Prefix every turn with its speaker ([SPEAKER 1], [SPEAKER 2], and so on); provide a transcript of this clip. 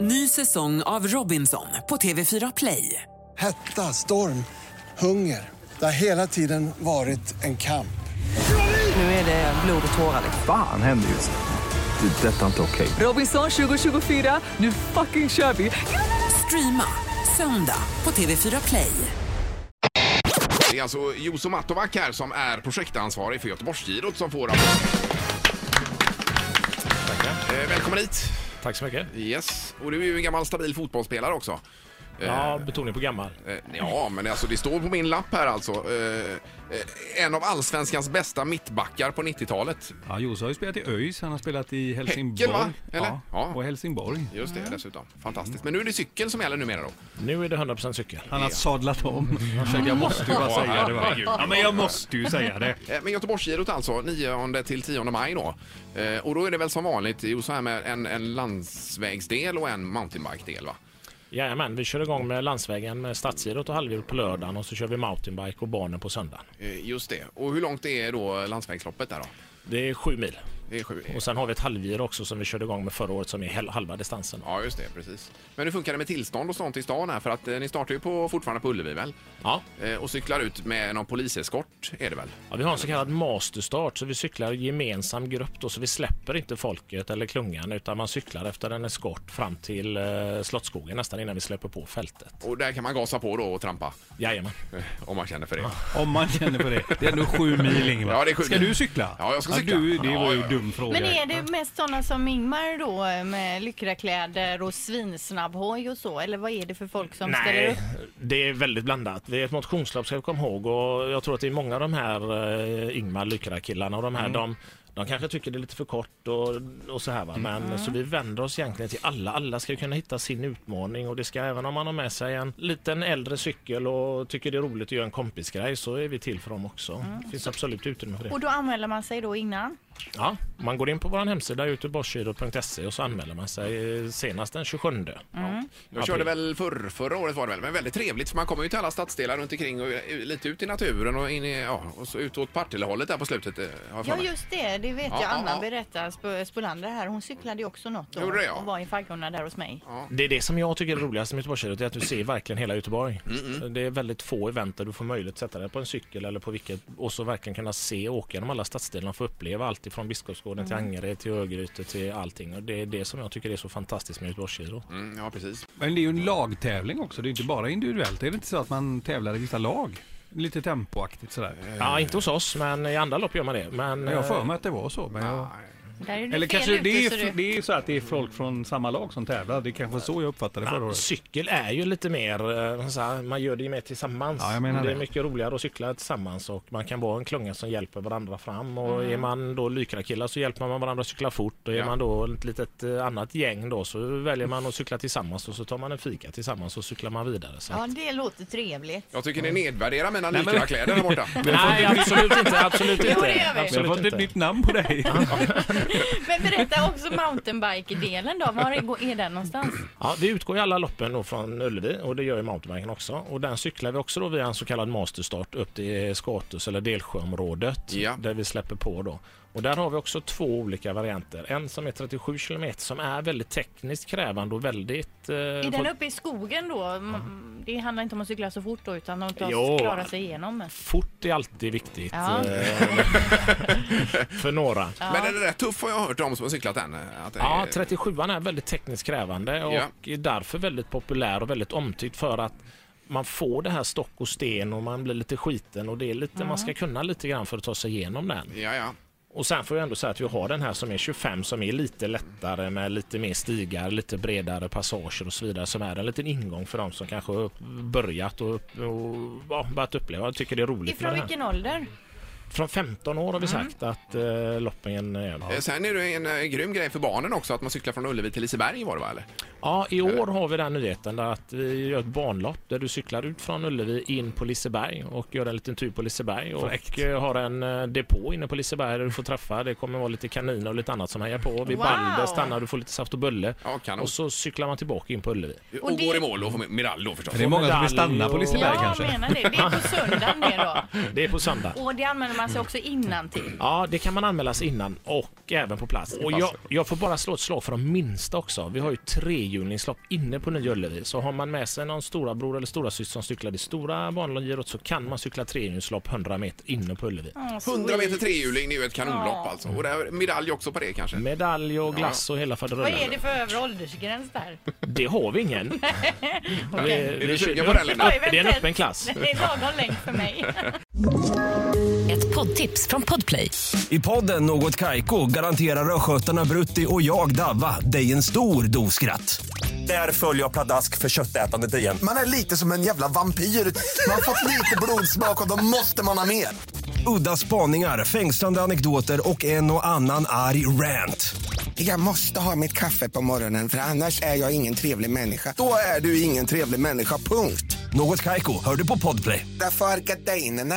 [SPEAKER 1] Ny säsong av Robinson på TV4 Play.
[SPEAKER 2] Hetta, storm, hunger. Det har hela tiden varit en kamp.
[SPEAKER 1] Nu är det blod och tårar. liksom.
[SPEAKER 3] Fan händer just nu. Det. är Detta är inte okej.
[SPEAKER 1] Robinson 2024, nu fucking kör vi! Streama söndag på TV4 Play.
[SPEAKER 4] Det är alltså Juso Matovac här som är projektansvarig för Göteborgsgirot som får rapporten. Eh, Välkommen hit!
[SPEAKER 5] Tack så mycket.
[SPEAKER 4] Yes, och du är ju en gammal stabil fotbollsspelare också.
[SPEAKER 5] Ja, betoning på gammal.
[SPEAKER 4] Eh, Ja, men alltså det står på min lapp här alltså. Eh, eh, En av allsvenskans bästa mittbackar på 90-talet.
[SPEAKER 6] Ja, Jose har ju spelat i ÖIS, han har spelat i Helsingborg.
[SPEAKER 4] Häcken, va? Eller?
[SPEAKER 6] Ja,
[SPEAKER 4] Ja.
[SPEAKER 6] och Helsingborg.
[SPEAKER 4] Just det, dessutom. Mm. Fantastiskt. Men nu är det cykel som gäller numera då.
[SPEAKER 5] Nu är det 100% cykel.
[SPEAKER 6] Han har sadlat om. Han säger, Mm. jag måste ju bara säga det. Va? Ja, men jag måste ju säga det.
[SPEAKER 4] Eh, Men Göteborgsgirot alltså, 9 till 10 maj då. Eh, Och då är det väl som vanligt, Juso, här med en, en landsvägsdel och en mountainbike-del va?
[SPEAKER 5] Jajamän, vi kör igång med landsvägen med stadsgirot och halvgjort på lördagen och så kör vi mountainbike och barnen på söndagen.
[SPEAKER 4] Eh, Just det. Och hur långt är då landsvägsloppet där då?
[SPEAKER 5] Det är sju mil.
[SPEAKER 4] Det är sju.
[SPEAKER 5] Och sen har vi ett halvgiro också som vi körde igång med förra året som är hel- halva distansen.
[SPEAKER 4] Ja, just det. Precis. Men hur funkar det med tillstånd och sånt i stan här? För att eh, ni startar ju på, fortfarande på Ullevi väl?
[SPEAKER 5] Ja.
[SPEAKER 4] Eh, och cyklar ut med någon poliseskort är det väl?
[SPEAKER 5] ja, vi har en så kallad masterstart så vi cyklar i gemensam grupp då så vi släpper inte folket eller klungan utan man cyklar efter en eskort fram till eh, Slottsskogen nästan innan vi släpper på fältet.
[SPEAKER 4] Och där kan man gasa på då och trampa
[SPEAKER 5] Jajamän.
[SPEAKER 4] eh, om man känner för det.
[SPEAKER 6] Om man känner på det. Det är ändå sju mil, Ingvar.
[SPEAKER 4] Ja, det är sju
[SPEAKER 6] ska
[SPEAKER 4] mil.
[SPEAKER 6] du cykla?
[SPEAKER 4] Ja, jag ska cykla.
[SPEAKER 6] du, det
[SPEAKER 4] Ja,
[SPEAKER 6] var ju
[SPEAKER 4] ja, ja.
[SPEAKER 6] dum fråga.
[SPEAKER 7] Men är det mest sådana som Ingmar då med lyckra kläder och svinsnabbhoj och så? Eller vad är det för folk som ställer upp?
[SPEAKER 5] det är väldigt blandat. Det är ett motionslopp ska vi komma ihåg och jag tror att det är många av de här eh, Ingmar Lyckra-killarna och de här de, de kanske tycker det är lite för kort och, och så här va. Men så vi vänder oss egentligen till alla. Alla ska ju kunna hitta sin utmaning och det ska även om man har med sig en liten äldre cykel och tycker det är roligt att göra en kompisgrej så är vi till för dem också. Det finns absolut utrymme för det.
[SPEAKER 7] Och då anmäler man sig då innan?
[SPEAKER 5] Ja, man går in på vår hemsida göteborgsgirot.se och så anmäler man sig eh, senast den 27.
[SPEAKER 4] Jag körde väl förr, förra året var det väl, men väldigt trevligt för man kommer ju till alla stadsdelar runt omkring och eh, lite ut i naturen och in i, ja, och så ut åt Partillehållet där på slutet. eh, har jag för
[SPEAKER 7] Ja
[SPEAKER 4] mig.
[SPEAKER 7] just det, det vet
[SPEAKER 4] Ja,
[SPEAKER 7] jag.
[SPEAKER 4] ja,
[SPEAKER 7] Anna
[SPEAKER 4] ja.
[SPEAKER 7] berättar, Sp- Spolander här, hon cyklade ju också något då.
[SPEAKER 4] Gjorde jag?
[SPEAKER 7] Och var i faggorna där hos mig.
[SPEAKER 5] Det är det som jag tycker är roligast med Göteborgsgirot, är att du ser verkligen hela Göteborg. Det är väldigt få event där du får möjlighet att sätta dig på en cykel eller på vilket och så verkligen kunna se och åka genom alla stadsdelarna och få uppleva allt ifrån Biskopsgården till Angered till Örgryte till allting. Och det är det som jag tycker är så fantastiskt med Göteborgsgirot.
[SPEAKER 4] Mm, ja, precis.
[SPEAKER 6] Men det är ju en lagtävling också. Det är inte bara individuellt. Det är det inte så att man tävlar i vissa lag? Lite tempoaktigt sådär.
[SPEAKER 4] Eh,
[SPEAKER 5] Ja, inte hos oss, men i andra lopp gör man det. Men,
[SPEAKER 6] Jag har för
[SPEAKER 5] eh,
[SPEAKER 6] mig att det var så. Men jag...
[SPEAKER 7] Där är du
[SPEAKER 6] Eller
[SPEAKER 7] fel
[SPEAKER 6] kanske
[SPEAKER 7] ute,
[SPEAKER 6] det
[SPEAKER 7] så
[SPEAKER 6] är,
[SPEAKER 7] du-
[SPEAKER 6] det är så att det är folk från samma lag som tävlar. Det är kanske så jag uppfattade det förra
[SPEAKER 5] Ja,
[SPEAKER 6] året.
[SPEAKER 5] cykel är ju lite mer, eh, så här, man gör det ju mer tillsammans.
[SPEAKER 6] Ja, jag menar
[SPEAKER 5] det är
[SPEAKER 6] det.
[SPEAKER 5] mycket roligare att cykla tillsammans och man kan vara en klunga som hjälper varandra fram. Och
[SPEAKER 7] Mm.
[SPEAKER 5] är man då lycrakillar så hjälper man varandra att cykla fort. Och är
[SPEAKER 4] Ja.
[SPEAKER 5] man då ett litet eh, annat gäng då så väljer man att cykla tillsammans och så tar man en fika tillsammans och cyklar man vidare. Så.
[SPEAKER 7] Ja det låter trevligt.
[SPEAKER 4] Jag tycker ni nedvärderar mina lyckra kläder där borta.
[SPEAKER 5] Nej, absolut inte. Absolut
[SPEAKER 7] Jo, det
[SPEAKER 5] inte.
[SPEAKER 7] gör vi.
[SPEAKER 6] Vi har
[SPEAKER 5] Absolut
[SPEAKER 6] fått ett
[SPEAKER 5] inte.
[SPEAKER 6] nytt namn på dig.
[SPEAKER 7] Men berätta också mountainbike-delen då. Var är är den någonstans?
[SPEAKER 5] Ja, vi utgår i alla loppen då från Ullevi och det gör ju mountainbiken också. Och den cyklar vi också då via en så kallad masterstart upp till Skatus eller Delsjöområdet
[SPEAKER 4] Ja.
[SPEAKER 5] där vi släpper på då. Och där har vi också två olika varianter. En som är 37 kilometer som är väldigt tekniskt krävande och väldigt... Eh,
[SPEAKER 7] Är den
[SPEAKER 5] folk-
[SPEAKER 7] uppe i skogen då? Mm, Det handlar inte om att cykla så fort då utan att
[SPEAKER 5] Jo.
[SPEAKER 7] klara sig igenom.
[SPEAKER 5] Fort är alltid viktigt
[SPEAKER 7] Ja.
[SPEAKER 5] eh, för några.
[SPEAKER 4] Men den är rätt tuff har jag hört om som har cyklat den. eh, Att det
[SPEAKER 5] Ja,
[SPEAKER 4] är-
[SPEAKER 5] 37an är väldigt tekniskt krävande och
[SPEAKER 4] Ja.
[SPEAKER 5] är därför väldigt populär och väldigt omtyckt för att man får det här stock och sten och man blir lite skiten och det är lite, man ska kunna lite grann för att ta sig igenom den.
[SPEAKER 4] Ja, ja.
[SPEAKER 5] Och sen får jag ändå säga att vi har den här som är 25 som är lite lättare med lite mer stigar, lite bredare passager och så vidare som är en liten ingång för de som kanske har upp- börjat och, upp- och ja, börjat uppleva. Jag tycker det är roligt med
[SPEAKER 7] Ifrån
[SPEAKER 5] det här.
[SPEAKER 7] vilken ålder?
[SPEAKER 5] Från 15 år har vi sagt att eh, loppen är
[SPEAKER 4] Eh, Sen är det en eh, grym grej för barnen också att man cyklar från Ullevi till Liseberg var det va? Eller?
[SPEAKER 5] Ja,
[SPEAKER 4] Eh.
[SPEAKER 5] i år har vi den nyheten där att vi gör ett banlopp där du cyklar ut från Ullevi in på Liseberg och gör en liten tur på Liseberg och
[SPEAKER 6] Fräckt.
[SPEAKER 5] eh, har en eh, depå inne på Liseberg där du får träffa. Det kommer vara lite kaniner och lite annat som hejar på. Vid
[SPEAKER 7] Wow.
[SPEAKER 5] Balder stannar du får lite saft och bulle
[SPEAKER 4] Ja, kanon.
[SPEAKER 5] och så cyklar man tillbaka in på Ullevi.
[SPEAKER 4] Och,
[SPEAKER 7] Och det-
[SPEAKER 4] går i mål och får medalj då förstås.
[SPEAKER 6] Det är många som vill stanna på Liseberg
[SPEAKER 7] Ja,
[SPEAKER 6] kanske.
[SPEAKER 7] jag menar det. Det är på söndagen det då.
[SPEAKER 5] Det är på söndag.
[SPEAKER 7] Och det använder man sig också innan till.
[SPEAKER 5] Ja, det kan man anmäla sig innan och och även på plats. Och jag, jag får bara slå ett slag för de minsta också. Vi har ju trehjulingslopp inne på Nya Ullevi. Så har man med sig någon storabror eller storasyster som cyklar det stora banlongirot så kan man cykla trehjulingslopp 100 meter inne på Ullevi.
[SPEAKER 4] 100 meter trehjuling, det är ju ett kanonlopp alltså. Och där, medalj också på det kanske.
[SPEAKER 5] Medalj och glass och hela
[SPEAKER 7] Vad är det
[SPEAKER 5] faderullan.
[SPEAKER 7] för övre åldersgräns där?
[SPEAKER 5] Det har vi ingen. Vi,
[SPEAKER 4] Är du
[SPEAKER 5] kör-
[SPEAKER 4] sugen på den Linda?
[SPEAKER 7] Oj,
[SPEAKER 5] det är en
[SPEAKER 7] vänta.
[SPEAKER 5] öppen klass.
[SPEAKER 7] Det är lagom länge för mig.
[SPEAKER 8] Ett poddtips från Podplay.
[SPEAKER 9] I podden Något Kaiko garanterar östgötarna Brutti och jag, Davva, dig en stor dos skratt. Där följer jag pladask för köttätandet igen.
[SPEAKER 10] Man är lite som en jävla vampyr. Man har fått lite blodsmak och då måste man ha mer.
[SPEAKER 9] Udda spaningar, fängslande anekdoter och en och annan arg rant.
[SPEAKER 10] Jag måste ha mitt kaffe på morgonen för annars är jag ingen trevlig människa. Då är du ingen trevlig människa, punkt.
[SPEAKER 9] Något Kaiko, hör du på Podplay.
[SPEAKER 10] Därför arkadeinerna.